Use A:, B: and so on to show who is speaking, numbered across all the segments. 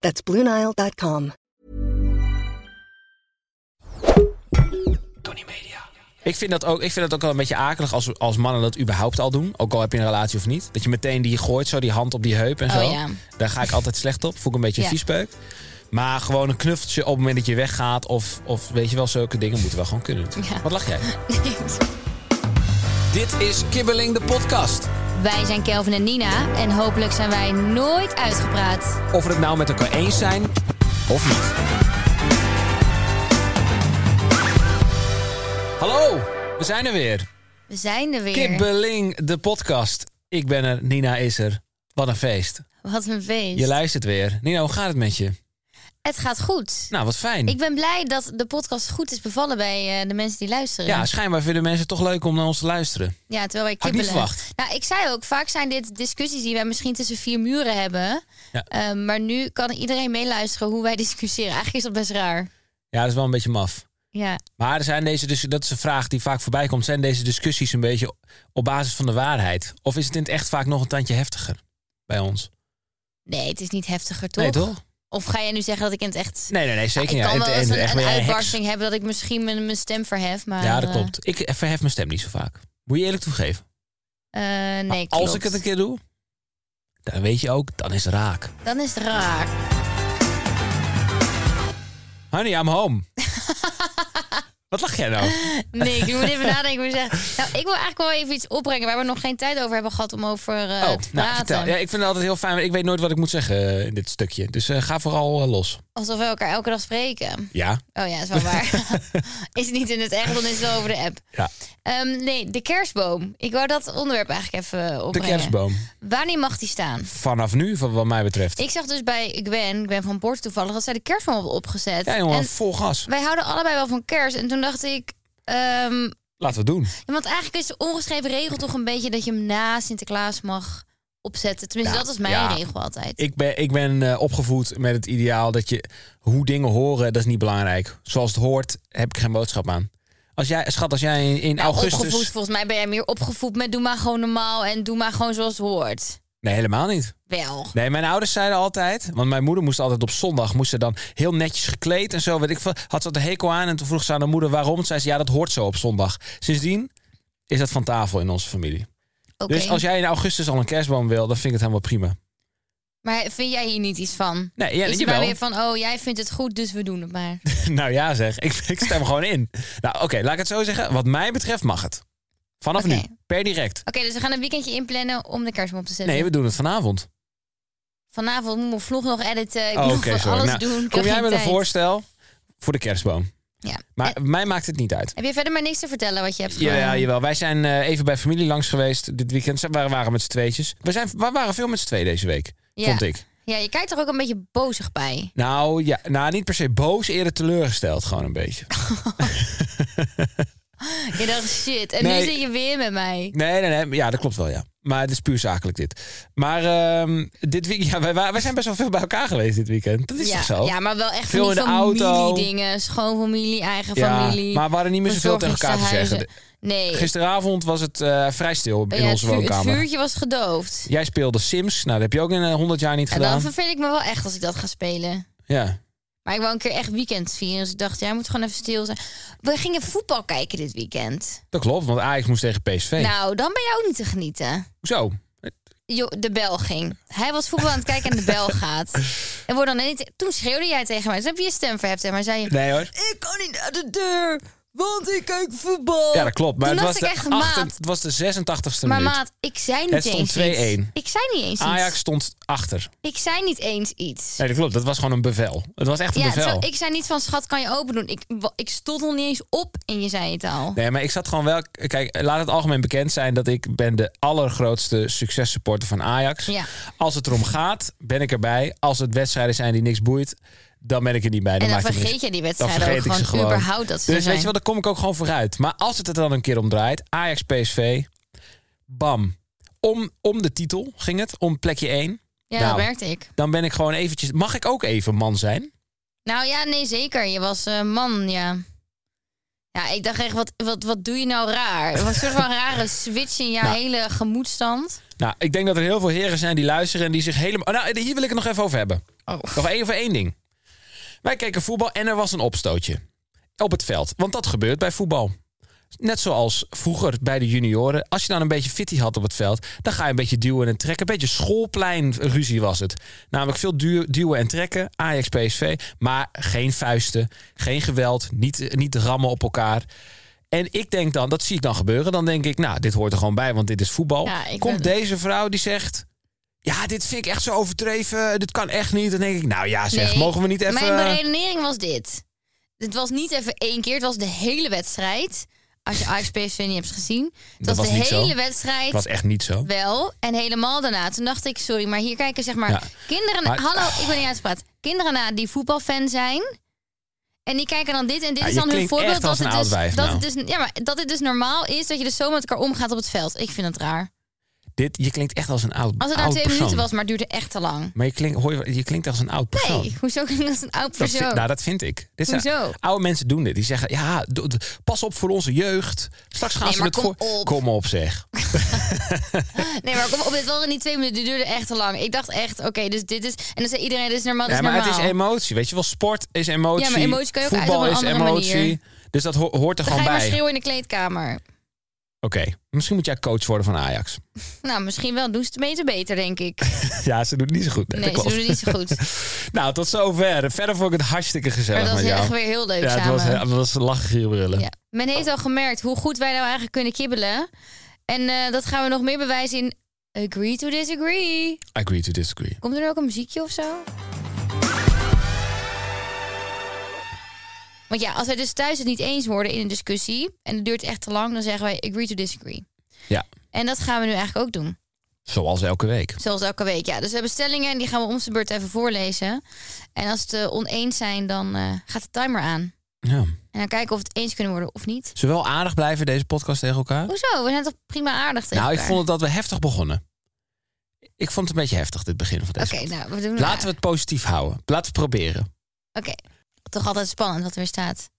A: That's BlueNile.com.
B: Ik vind, dat ook, ik vind dat ook wel een beetje akelig als, als mannen dat überhaupt al doen. Ook al heb je een relatie of niet. Dat je meteen die gooit, zo die hand op die heup en
C: Oh,
B: zo.
C: ja.
B: Daar ga ik altijd slecht op. Voel ik een beetje
C: Ja.
B: viespeuk. Maar gewoon een knuffeltje op het moment dat je weggaat. Of, of weet je wel, zulke dingen moeten wel gewoon kunnen. natuurlijk.
C: Ja.
B: Wat lach jij? Dit is Kibbeling de podcast.
C: wij zijn Kelvin en Nina en hopelijk zijn wij nooit uitgepraat.
B: Of we het nou met elkaar eens zijn of niet. Hallo, we zijn er weer.
C: We zijn er weer.
B: Kibbeling de podcast. Ik ben er, Nina is er. Wat een feest.
C: Wat een feest.
B: Je luistert weer. Nina, hoe gaat het met je?
C: Het gaat goed.
B: Nou, wat fijn.
C: Ik ben blij dat de podcast goed is bevallen bij eh, de mensen die luisteren.
B: Ja, schijnbaar vinden mensen het toch leuk om naar ons te luisteren.
C: Ja, terwijl wij
B: Had ik niet
C: kibbelen.
B: verwacht.
C: Nou, ik zei ook, vaak zijn dit discussies die wij misschien tussen vier muren hebben.
B: Ja.
C: Eh, maar nu kan iedereen meeluisteren hoe wij discussiëren. Eigenlijk is dat best raar.
B: Ja, dat is wel een beetje maf.
C: Ja,
B: Maar er zijn deze, dus, dat is een vraag die vaak voorbij komt. Zijn deze discussies een beetje op basis van de waarheid? Of is het in het echt vaak nog een tandje heftiger bij ons?
C: nee, het is niet heftiger, toch?
B: Nee, toch?
C: Of ga jij nu zeggen dat ik in het echt...
B: Nee, nee, nee,
C: Ik
B: zeker
C: kan
B: niet.
C: wel
B: En- en-
C: eens
B: en-
C: een,
B: echt
C: een
B: ben jij heks.
C: uitbarsting hebben dat ik misschien mijn, mijn stem verhef. Maar,
B: Ja, dat
C: eh,
B: klopt. Ik verhef mijn stem niet zo vaak. Moet je eerlijk toegeven.
C: eh, nee,
B: Als
C: klopt.
B: ik het een keer doe, dan weet je ook, dan is het raak.
C: Dan is het raar.
B: Honey, I'm home. Wat lach jij nou?
C: Nee, ik moet even nadenken. hoe ik zeg. Nou, ik wil eigenlijk wel even iets opbrengen waar we nog geen tijd over hebben gehad om over eh,
B: oh,
C: te
B: nou,
C: praten.
B: vertel. Ja, ik vind het altijd heel fijn. want Ik weet nooit wat ik moet zeggen eh, in dit stukje. Dus eh, ga vooral eh, los.
C: Alsof we elkaar elke dag spreken.
B: Ja.
C: Oh ja, is wel waar. is het niet in het echt, dan is het wel over de app.
B: ja.
C: Ehm, nee, de kerstboom. Ik wou dat onderwerp eigenlijk even eh,
B: De
C: opbrengen.
B: kerstboom.
C: Wanneer mag die staan?
B: Vanaf nu, van wat mij betreft.
C: Ik zag dus bij Gwen, Gwen van Bord toevallig, dat zij de kerstboom had opgezet.
B: Ja, jongen,
C: En
B: vol gas.
C: wij houden allebei wel van kerst. En toen dacht ik... ehm,
B: Laten we het doen.
C: Ja, Want eigenlijk is de ongeschreven regel toch een beetje dat je hem na Sinterklaas mag opzetten. Tenminste,
B: Ja,
C: dat is mijn
B: ja.
C: regel altijd.
B: Ik ben, ik ben eh, opgevoed met het ideaal dat je hoe dingen horen, dat is niet belangrijk. Zoals het hoort, heb ik geen boodschap aan. Als jij, schat, als jij in, in
C: Nou,
B: augustus.
C: opgevoed, volgens mij ben jij meer opgevoed met doe maar gewoon normaal en doe maar gewoon zoals het hoort.
B: Nee, helemaal niet.
C: Wel.
B: Nee, mijn ouders zeiden altijd, want mijn moeder moest altijd op zondag, moest ze dan heel netjes gekleed en zo, weet ik veel, had ze de hekel aan en toen vroeg ze aan haar moeder waarom. Toen zei ze, ja, dat hoort zo op zondag. Sindsdien is dat van tafel in onze familie.
C: Oké.
B: Dus als jij in augustus al een kerstboom wil, dan vind ik het helemaal prima.
C: Maar vind jij hier niet iets van?
B: Nee, ja,
C: is het
B: jawel.
C: maar weer van, oh, jij vindt het goed, dus we doen het maar.
B: Nou ja, zeg, ik, ik stem gewoon in. Nou, oké, laat ik het zo zeggen. Wat mij betreft mag het. Vanaf
C: Oké.
B: nu, per direct.
C: Oké, dus we gaan een weekendje inplannen om de kerstboom op te zetten.
B: Nee, we doen het vanavond.
C: Vanavond moet ik mijn vlog nog editen. Ik
B: Oh,
C: moet
B: Oké,
C: nog van
B: sorry.
C: alles
B: Nou,
C: doen. Ik
B: kom
C: heb
B: jij
C: geen
B: met een
C: tijd. Eh.
B: voorstel voor de kerstboom?
C: Ja.
B: Maar
C: En-
B: mij maakt het niet uit.
C: heb je verder maar niks te vertellen wat je hebt gedaan?
B: Jawel, jawel. Wij zijn eh, even bij familie langs geweest dit weekend. Ze waren, waren met z'n tweetjes. We, zijn, we waren veel met z'n twee deze week,
C: Ja.
B: vond ik.
C: Ja, je kijkt er ook een beetje bozig bij.
B: Nou, ja, nou, niet per se boos, eerder teleurgesteld gewoon een beetje.
C: Oh. Je dacht, shit. En
B: Nee.
C: nu zit je weer met mij.
B: Nee, nee, nee. Ja, dat klopt wel, ja. Maar het is puur zakelijk dit. Maar ehm, dit week, ja, wij, wa- wij zijn best wel veel bij elkaar geweest dit weekend. Dat is
C: ja,
B: toch zo?
C: ja, maar wel echt
B: Veel
C: van die
B: in de auto.
C: familiedingen. Schoonfamilie, eigen
B: Ja,
C: familie.
B: maar we hadden niet meer zoveel tegen elkaar te
C: verzorgingstehuizen.
B: zeggen.
C: Nee. Oh
B: Gisteravond was het eh, vrij stil in
C: Ja,
B: onze
C: het, vuur- het
B: woonkamer.
C: vuurtje was gedoofd.
B: Jij speelde Sims. Nou, dat heb je ook in eh, 100 jaar niet
C: En dan
B: gedaan.
C: verveel ik me wel echt als ik dat ga spelen.
B: Ja.
C: Maar ik wou een keer echt weekend vieren. Dus ik dacht, jij moet gewoon even stil zijn. We gingen voetbal kijken dit weekend.
B: Dat klopt, want Ajax moest tegen PSV.
C: Nou, dan ben jij ook niet te genieten.
B: Zo.
C: Jo, de bel ging. Hij was voetbal aan het kijken en de bel gaat. En wordt dan niet, toen schreeuwde jij tegen mij. Toen heb je je stem verheft. Maar zei je,
B: Nee hoor.
C: ik kan niet naar de deur, want ik kijk voetbal.
B: Ja, dat klopt. Maar
C: Toen
B: het was,
C: dacht
B: de
C: ik echt,
B: acht-
C: maat.
B: het was de 86e
C: Maar
B: minuut.
C: maat, ik zei niet
B: Het
C: eens
B: stond
C: iets.
B: 2-1.
C: Ik zei niet eens
B: Ajax
C: iets.
B: stond achter.
C: Ik zei niet eens iets.
B: Nee, dat klopt. Dat was gewoon een bevel. Het was echt een
C: ja,
B: bevel.
C: terwijl ik zei niet van schat, kan je open doen? Ik, wa- ik stond nog niet eens op en je zei het al.
B: Nee, maar ik zat gewoon wel... Kijk, laat het algemeen bekend zijn dat ik ben de allergrootste successupporter van Ajax.
C: Ja.
B: Als het erom gaat, ben ik erbij. Als het wedstrijden zijn die niks boeit, dan ben ik er niet bij.
C: En dan
B: maakt het niet
C: vergeet je die wedstrijden
B: Dan
C: ook
B: vergeet ik
C: gewoon,
B: ze gewoon.
C: überhaupt dat
B: Dus
C: ze er
B: weet je
C: zijn.
B: wel, daar kom ik ook gewoon vooruit. Maar als het er dan een keer om draait, Ajax PSV, bam. Om, om de titel ging het, om plekje 1.
C: Ja,
B: Nou.
C: dat merkte ik.
B: Dan ben ik gewoon eventjes... Mag ik ook even man zijn?
C: Nou ja, nee, zeker. Je was eh, man, ja. Ja, ik dacht echt, wat, wat, wat doe je nou raar? Wat een soort van rare switch in jouw
B: Nou.
C: hele gemoedstand.
B: Nou, ik denk dat er heel veel heren zijn die luisteren en die zich helemaal... Oh, Nou, hier wil ik het nog even over hebben.
C: Oh.
B: Nog even over één ding. Wij keken voetbal en er was een opstootje. Op het veld. Want dat gebeurt bij voetbal. Net zoals vroeger bij de junioren. Als je dan een beetje fitty had op het veld, dan ga je een beetje duwen en trekken. Een beetje schoolpleinruzie was het. Namelijk veel du- duwen en trekken. Ajax PSV. Maar geen vuisten, geen geweld, niet, niet rammen op elkaar. En ik denk dan, dat zie ik dan gebeuren. Dan denk ik, nou, dit hoort er gewoon bij, want dit is voetbal.
C: Ja, ik
B: Komt
C: ben-
B: deze vrouw die zegt. Ja, dit vind ik echt zo overdreven. Dit kan echt niet. Dan denk ik, nou ja, zeg,
C: Nee,
B: mogen we niet even.
C: Mijn beredenering was dit. Het was niet even één keer, het was de hele wedstrijd. Als je Ajax PSV niet hebt gezien. Het
B: Dat
C: was,
B: was
C: de
B: niet zo.
C: hele
B: Het
C: wedstrijd
B: was echt niet zo.
C: wel. En helemaal daarna. Toen dacht ik, sorry, maar hier kijken zeg maar...
B: Ja.
C: Kinderen...
B: Maar-
C: hallo, ik ben niet uitgepraat. Kinderen na die voetbalfan zijn... En die kijken dan dit en dit
B: Ja,
C: is
B: je
C: dan hun
B: klinkt
C: voorbeeld
B: echt als
C: dat, het
B: een
C: dus,
B: oud wijf
C: dat,
B: nou.
C: het dus, ja, maar dat het dus normaal is dat je dus zo met elkaar omgaat op het veld. Ik vind het raar.
B: Dit, je klinkt echt als een oud
C: Als het nou
B: oud
C: twee
B: persoon.
C: minuten was, maar het duurde echt te lang.
B: Maar je klinkt, hoor je, je klinkt echt als een oud persoon.
C: Nee, hoezo klinkt dat een oud
B: Dat vind-
C: persoon?
B: nou, dat vind ik. Dit zijn-
C: Hoezo?
B: Oude mensen doen dit. Die zeggen, ja, do- do- pas op voor onze jeugd. Straks gaan
C: Nee,
B: ze
C: maar
B: het
C: kom
B: voor...
C: op.
B: Kom op, zeg.
C: Nee, maar kom op, het was in die twee minuten, die duurde echt te lang. Ik dacht echt, oké, dus dit is... En dan zei iedereen, dit is normaal, dit
B: Ja,
C: is
B: maar
C: normaal.
B: het is emotie. Weet je wel, sport is emotie.
C: Ja, maar emotie kan je ook uit op
B: Voetbal
C: een
B: is
C: andere
B: emotie.
C: manier.
B: Dus dat ho- hoort er
C: dan ga
B: gewoon
C: je maar
B: bij. Oké,
C: schreeuwen in de kleedkamer.
B: misschien moet jij coach worden van Ajax.
C: Nou, misschien wel. Doen ze het beter beter, denk ik.
B: Ja, ze doen het niet zo goed. Nee,
C: Nee,
B: dat
C: ze doen
B: klopt.
C: het niet zo goed.
B: Nou, tot zover. Verder vond ik het hartstikke gezellig
C: Maar dat was
B: met
C: heel-
B: jou.
C: echt weer heel leuk
B: ja, het
C: samen.
B: was, eh, het was lachen hier brillen.
C: Ja. Men heeft al gemerkt hoe goed wij nou eigenlijk kunnen kibbelen. En eh, dat gaan we nog meer bewijzen in Agree to Disagree.
B: Agree to disagree.
C: Komt er ook een muziekje of zo? Want ja, als wij dus thuis het niet eens worden in een discussie... en het duurt echt te lang, dan zeggen wij agree to disagree.
B: Ja,
C: En dat gaan we nu eigenlijk ook doen.
B: zoals elke week.
C: Zoals elke week, ja. Dus we hebben stellingen en die gaan we om zijn beurt even voorlezen. En als het eh, oneens zijn, dan eh, gaat de timer aan.
B: Ja.
C: En dan kijken of het eens kunnen worden of niet.
B: Zullen we wel aardig blijven deze podcast tegen elkaar?
C: Hoezo? We zijn toch prima aardig tegen
B: Nou, ik
C: elkaar?
B: vond het dat we heftig begonnen. Ik vond het een beetje heftig, dit begin van deze.
C: Oké, nou, we doen
B: Laten we het positief houden. Laten we het proberen.
C: Oké. Toch altijd spannend wat er weer staat.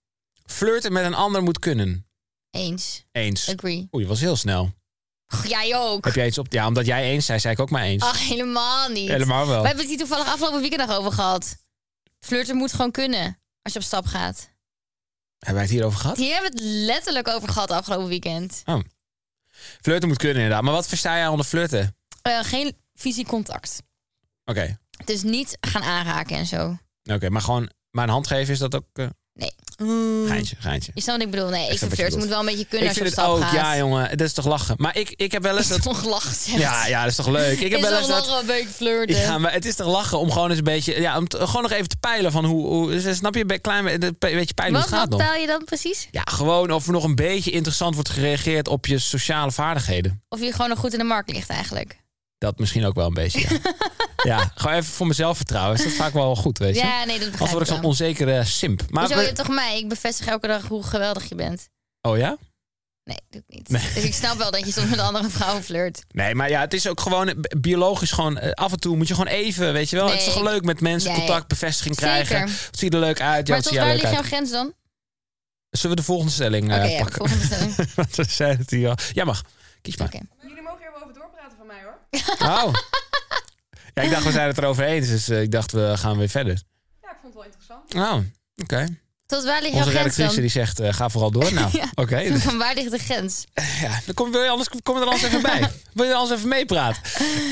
B: Flirten met een ander moet kunnen.
C: Eens.
B: Eens.
C: Agree.
B: Oeh, je was heel snel.
C: Och, jij ook.
B: Heb jij iets op? Ja, omdat jij eens zei, zei ik ook maar eens.
C: Ach, helemaal niet.
B: Helemaal wel.
C: We hebben het hier toevallig afgelopen weekend nog over gehad. Flirten moet gewoon kunnen als je op stap gaat.
B: Hebben wij het hierover gehad?
C: Hier hebben we het letterlijk over gehad afgelopen weekend.
B: Flirten moet kunnen, inderdaad. Maar wat versta jij onder flirten? Oké.
C: Eh, geen fysiek contact. Dus niet gaan aanraken en zo.
B: Oké, maar gewoon... Maar een hand geven is dat ook... eh,
C: Nee.
B: geintje, geintje.
C: Mm. Je snapt wat ik bedoel? Nee,
B: snap
C: ik
B: wat
C: vind
B: je
C: flirten moet wel een beetje kunnen
B: Ik
C: als je
B: vind
C: op
B: het
C: stap
B: ook,
C: gaat.
B: ja jongen, dat is toch lachen. Maar ik, ik heb wel eens
C: Dat is
B: dat...
C: toch gelacht.
B: Ja, ja, dat is toch leuk. Ik heb wel eens dat...
C: nog een beetje flirten.
B: Ja, maar het is toch lachen om gewoon eens een beetje... Ja, om t- gewoon nog even te peilen van hoe... hoe snap je, bij klein een beetje peilen hoe
C: wat
B: het gaat nog.
C: wat eh? taal je dan precies?
B: Ja, gewoon of er nog een beetje interessant wordt gereageerd op je sociale vaardigheden.
C: Of je gewoon nog goed in de markt ligt eigenlijk?
B: Dat misschien ook wel een beetje, ja. ja gewoon even voor mezelf vertrouwen. Is dat vaak wel goed, weet je?
C: Ja, nee, dat begrijp
B: Als word ik
C: ik
B: zo'n
C: wel.
B: onzekere simp. Maar
C: Hoezo,
B: we-
C: je hebt toch mij? Ik bevestig elke dag hoe geweldig je bent.
B: Oh ja?
C: Nee, doe ik niet.
B: Nee.
C: Dus ik snap wel dat je soms met andere vrouwen flirt.
B: Nee, maar ja, het is ook gewoon eh, bi- biologisch gewoon... eh, af en toe moet je gewoon even, weet je wel?
C: Nee,
B: het is toch
C: ik-
B: leuk met mensen
C: Nee.
B: contact, bevestiging krijgen.
C: Zeker.
B: Het ziet er leuk uit. Ja, het
C: maar tot
B: ziet er
C: waar
B: leuk
C: ligt jouw
B: uit.
C: grens dan?
B: Zullen we de volgende stelling eh,
C: Oké, ja,
B: pakken?
C: volgende stelling.
B: Want we zeiden het hier al. Ja, mag. Kies maar.
C: Oké.
D: Jullie mogen er wel over doorpraten van mij hoor.
B: Oh. Ja, ik dacht, we zijn het erover eens. Dus eh, ik dacht, we gaan weer verder.
D: Ja, ik vond het wel interessant.
B: Oh, oké.
C: Tot waar ligt jouw
B: Onze
C: grens
B: redactrice
C: dan?
B: die zegt, eh, ga vooral door. Nou,
C: Ja.
B: oké.
C: Van waar ligt de grens?
B: Ja, dan kom, wil je anders, kom er anders even bij. Wil je er anders even meepraten?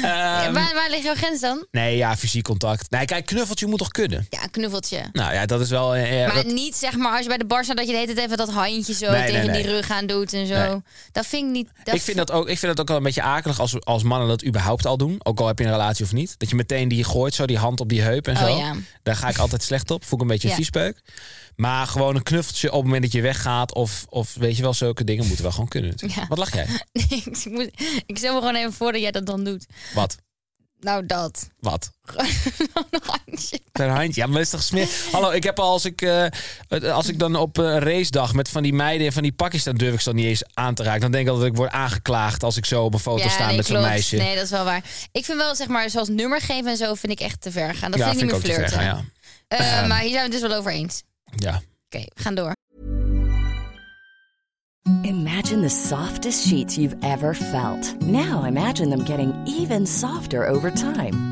C: Ja,
B: Ehm,
C: waar, waar ligt jouw grens dan?
B: nee, ja, fysiek contact. Nee, kijk, knuffeltje moet toch kunnen?
C: Ja, een knuffeltje.
B: Nou ja, dat is wel... eh, eh,
C: maar
B: dat-
C: niet zeg maar als je bij de bar staat dat je de hele tijd even dat handje zo
B: Nee, nee,
C: tegen
B: nee.
C: die rug aan doet en zo.
B: Nee.
C: Dat vind ik niet. Dat
B: ik, vind dat ook, ik vind dat ook wel een beetje akelig als, als mannen dat überhaupt al doen. Ook al heb je een relatie of niet. Dat je meteen die gooit, zo die hand op die heup en
C: Oh,
B: zo.
C: ja.
B: Daar ga ik altijd slecht op. Voel ik een beetje een
C: Ja.
B: viespeuk. Maar gewoon een knuffeltje op het moment dat je weggaat. Of, of weet je wel, zulke dingen moeten wel gewoon kunnen. natuurlijk.
C: Ja.
B: Wat lach jij?
C: Nee, ik, moet, ik stel me gewoon even voor dat jij dat dan doet.
B: Wat?
C: Nou, dat.
B: Wat?
C: Gewoon een handje.
B: Per handje. Ja, maar dat is toch smeer. Hallo, ik heb al als ik, eh, het- als ik dan op eh, een racedag met van die meiden en van die pakjes, dan durf ik ze dan niet eens aan te raken. Dan denk ik al dat ik word aangeklaagd als ik zo op een foto sta
C: nee,
B: met zo'n
C: klopt.
B: meisje.
C: Nee, dat is wel waar. Ik vind wel, zeg maar, zoals nummer geven en zo, vind ik echt te ver gaan. Dat
B: ja,
C: vind ik niet
B: ook
C: meer
B: te
C: flirten.
B: ver gaan,
C: Eh,
B: Ehm.
C: maar hier zijn we het dus wel over eens.
B: ja. ja.
C: Oké, we gaan door.
E: Imagine the softest sheets you've ever felt. Now imagine them getting even softer over time.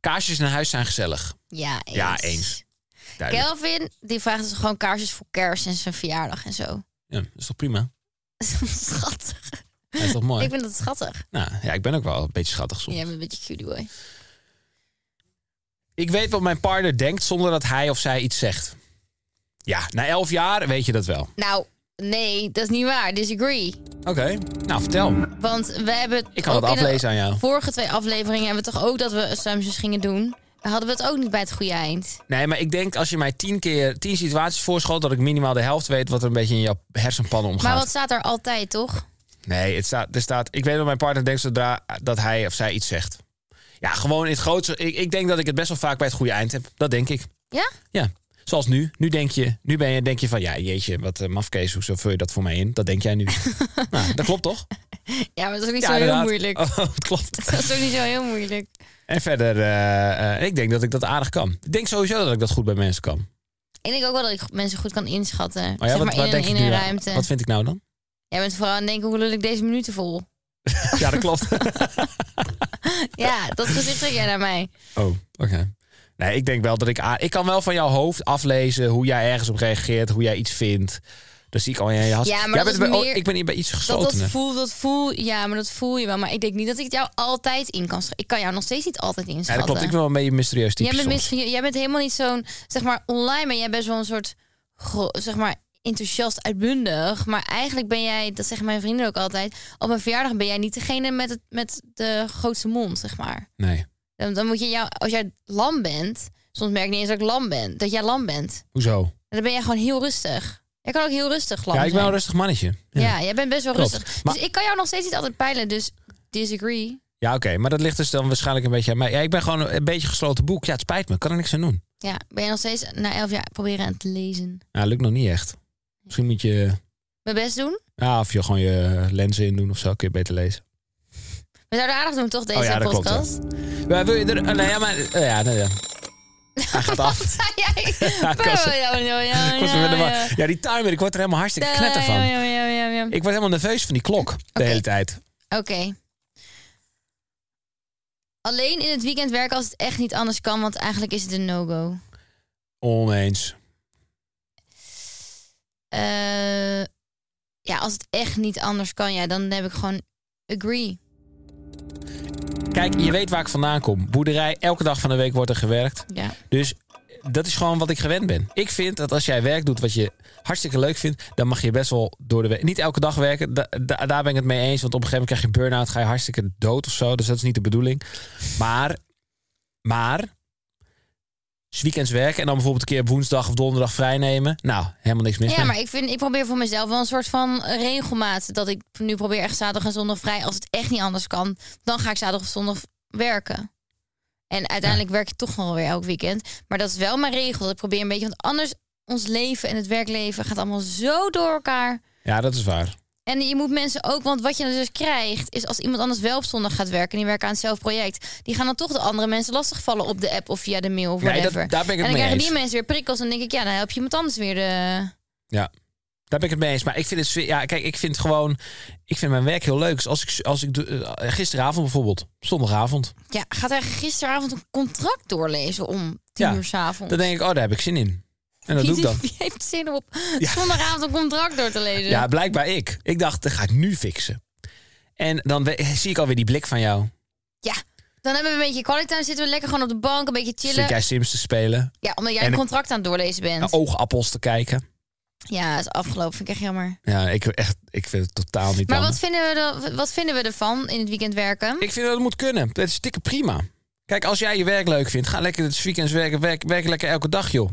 B: Kaarsjes naar huis zijn gezellig.
C: Ja, eens.
B: Ja, eens. Duidelijk.
C: Kelvin, die vraagt dus gewoon kaarsjes voor kerst en zijn verjaardag en zo.
B: Ja, dat is toch prima?
C: schattig.
B: Dat is toch mooi?
C: Ik vind dat schattig.
B: Nou, ja, ik ben ook wel een beetje schattig soms.
C: Jij bent een beetje cutie boy.
B: Ik weet wat mijn partner denkt zonder dat hij of zij iets zegt. Ja, na elf jaar weet je dat wel.
C: Nou, nee, dat is niet waar. Disagree.
B: Oké. Nou, vertel.
C: Want we hebben... het
B: Ik kan het
C: ook in de
B: aflezen aan jou.
C: vorige twee afleveringen hebben we toch ook dat we assumptions gingen doen. Hadden we het ook niet bij het goede eind.
B: Nee, maar ik denk als je mij tien keer tien situaties voorschoot... dat ik minimaal de helft weet wat er een beetje in jouw hersenpannen omgaat.
C: Maar wat staat er altijd, toch?
B: Nee, het staat, er staat... Ik weet dat mijn partner denkt zodra dat hij of zij iets zegt. Ja, gewoon in het grootste... Ik, ik denk dat ik het best wel vaak bij het goede eind heb. Dat denk ik.
C: Ja?
B: Ja. Zoals nu. Nu denk je, nu ben je, denk je van... Ja, jeetje, wat eh, mafkees, hoezo vul je dat voor mij in? Dat denk jij nu. nou, dat klopt toch?
C: Ja, maar dat is ook niet
B: ja,
C: zo heel
B: inderdaad.
C: moeilijk.
B: Oh, het klopt.
C: Dat is ook niet zo heel moeilijk.
B: En verder, eh, eh, ik denk dat ik dat aardig kan. Ik denk sowieso dat ik dat goed bij mensen kan.
C: Ik denk ook wel dat ik mensen goed kan inschatten.
B: Maar
C: zeg
B: Oh ja,
C: maar
B: wat,
C: in,
B: wat
C: een-
B: denk
C: in
B: je nu
C: een
B: dan?
C: ruimte.
B: Wat vind ik nou dan?
C: Jij bent vooral aan het denken, hoe lul ik deze minuten vol?
B: Ja, dat klopt.
C: Ja, dat gezicht trek jij naar mij.
B: oh, oké. Nee, ik denk wel dat ik... a- Ik kan wel van jouw hoofd aflezen hoe jij ergens op reageert, hoe jij iets vindt. Dat zie ik al in je had.
C: Ja, maar
B: jij
C: dat is
B: bent bij- oh,
C: meer-
B: ik ben hier bij iets
C: Dat, dat,
B: gesloten.
C: voel, dat voel, ja, maar dat voel je wel. Maar ik denk niet dat ik jou altijd in kan schatten. Ik kan jou nog steeds niet altijd
B: Ja,
C: inschatten.
B: dat klopt. Ik ben wel een beetje een mysterieus type
C: jij, bent
B: soms.
C: misschien- jij bent helemaal niet zo'n, zeg maar, online, maar jij bent wel een soort, gro- zeg maar, enthousiast uitbundig. Maar eigenlijk ben jij, dat zeggen mijn vrienden ook altijd, op mijn verjaardag ben jij niet degene met, het, met de grootste mond, zeg maar.
B: Nee.
C: Dan, dan moet je jou, als jij lam bent, soms merk ik niet eens dat ik lam ben, dat jij lam bent.
B: Hoezo?
C: En dan ben jij gewoon heel rustig. Jij kan ook heel rustig lam
B: Ja, ik ben wel
C: zijn.
B: een rustig mannetje.
C: Ja.
B: Ja, ja.
C: jij bent best wel
B: Klopt.
C: rustig.
B: Maar-
C: Dus ik kan jou nog steeds niet altijd peilen, dus disagree.
B: oké. Maar dat ligt dus dan waarschijnlijk een beetje aan mij. Ja, ik ben gewoon een beetje gesloten boek. Ja, het spijt me. Ik kan er niks aan doen.
C: Ja, ben je nog steeds na elf jaar proberen aan het lezen?
B: Nou, lukt nog niet echt. Misschien moet je...
C: Mijn best doen?
B: Ja, of je gewoon je lenzen in doen of zo. Kun je beter lezen.
C: We zouden aardig doen, toch, deze
B: Oh ja, dat klopt,
C: podcast?
B: Maar wil je er... eh, nou ja, maar... eh, ja, nou ja. Hij gaat af.
C: Wat zei jij?
B: Ja, ik was-
C: Ja, ja, ja,
B: Ik was er met de wa-
C: ja.
B: Ja, die timer, ik word er helemaal hartstikke knetter
C: Ja,
B: van.
C: ja, ja, ja, ja.
B: Ik word helemaal nerveus van die klok de
C: Oké.
B: hele tijd.
C: Oké. Alleen in het weekend werken als het echt niet anders kan, want eigenlijk is het een no-go.
B: Oneens.
C: Eh, ja, als het echt niet anders kan, ja, dan heb ik gewoon agree.
B: Kijk, je weet waar ik vandaan kom. Boerderij, elke dag van de week wordt er gewerkt.
C: Ja.
B: Dus dat is gewoon wat ik gewend ben. Ik vind dat als jij werk doet wat je hartstikke leuk vindt, dan mag je best wel door de week. Niet elke dag werken, da- da- daar ben ik het mee eens. Want op een gegeven moment krijg je burn-out, ga je hartstikke dood of zo. Dus dat is niet de bedoeling. Maar, maar, 's weekends werken en dan bijvoorbeeld een keer op woensdag of donderdag vrij nemen. Nou, helemaal niks mis
C: Ja,
B: mee.
C: maar ik, vind, ik probeer voor mezelf wel een soort van regelmaat. Dat ik nu probeer echt zaterdag en zondag vrij. Als het echt niet anders kan, dan ga ik zaterdag of zondag werken. En uiteindelijk werk ik toch gewoon weer elk weekend. Maar dat is wel mijn regel. Dat probeer een beetje. Want anders, ons leven en het werkleven gaat allemaal zo door elkaar.
B: Ja, dat is waar.
C: En je moet mensen ook, want wat je dan dus krijgt, is als iemand anders wel op zondag gaat werken en die werken aan hetzelfde project, die gaan dan toch de andere mensen lastigvallen op de app of via de mail of
B: Nee, dat-
C: whatever.
B: daar ben ik het
C: en dan
B: mee
C: krijgen
B: eens.
C: die mensen weer prikkels en dan denk ik, ja, dan help je iemand anders weer eh. de...
B: Ja, daar ben ik het mee eens. Maar ik vind het, zwe- ja, kijk, ik vind gewoon, ik vind mijn werk heel leuk. Dus als ik, als ik doe- eh, gisteravond bijvoorbeeld, zondagavond,
C: Ja, gaat hij gisteravond een contract doorlezen om tien
B: Ja,
C: uur s'avonds?
B: dan denk ik, oh, daar heb ik zin in. En dat doe ik dan.
C: Wie heeft zin om op zondagavond een contract door te lezen?
B: Ja, blijkbaar ik. Ik dacht, dat ga ik nu fixen. En dan we- zie ik alweer die blik van jou.
C: Ja. Dan hebben we een beetje quality time. Zitten we lekker gewoon op de bank, een beetje chillen.
B: Zit jij Sims te spelen?
C: Ja, omdat jij
B: En ik- Nou,
C: een
B: oh.
C: contract aan het doorlezen bent.
B: Naar oogappels te kijken?
C: Ja, is afgelopen. Vind ik echt jammer.
B: Ja, ik, echt, ik vind het totaal niet
C: Maar
B: handig.
C: wat vinden, we er, wat vinden we ervan in het weekend werken?
B: Ik vind dat het moet kunnen. Het is dikke prima. Kijk, als jij je werk leuk vindt, ga lekker het weekends werken. Werk, werk lekker elke dag, joh.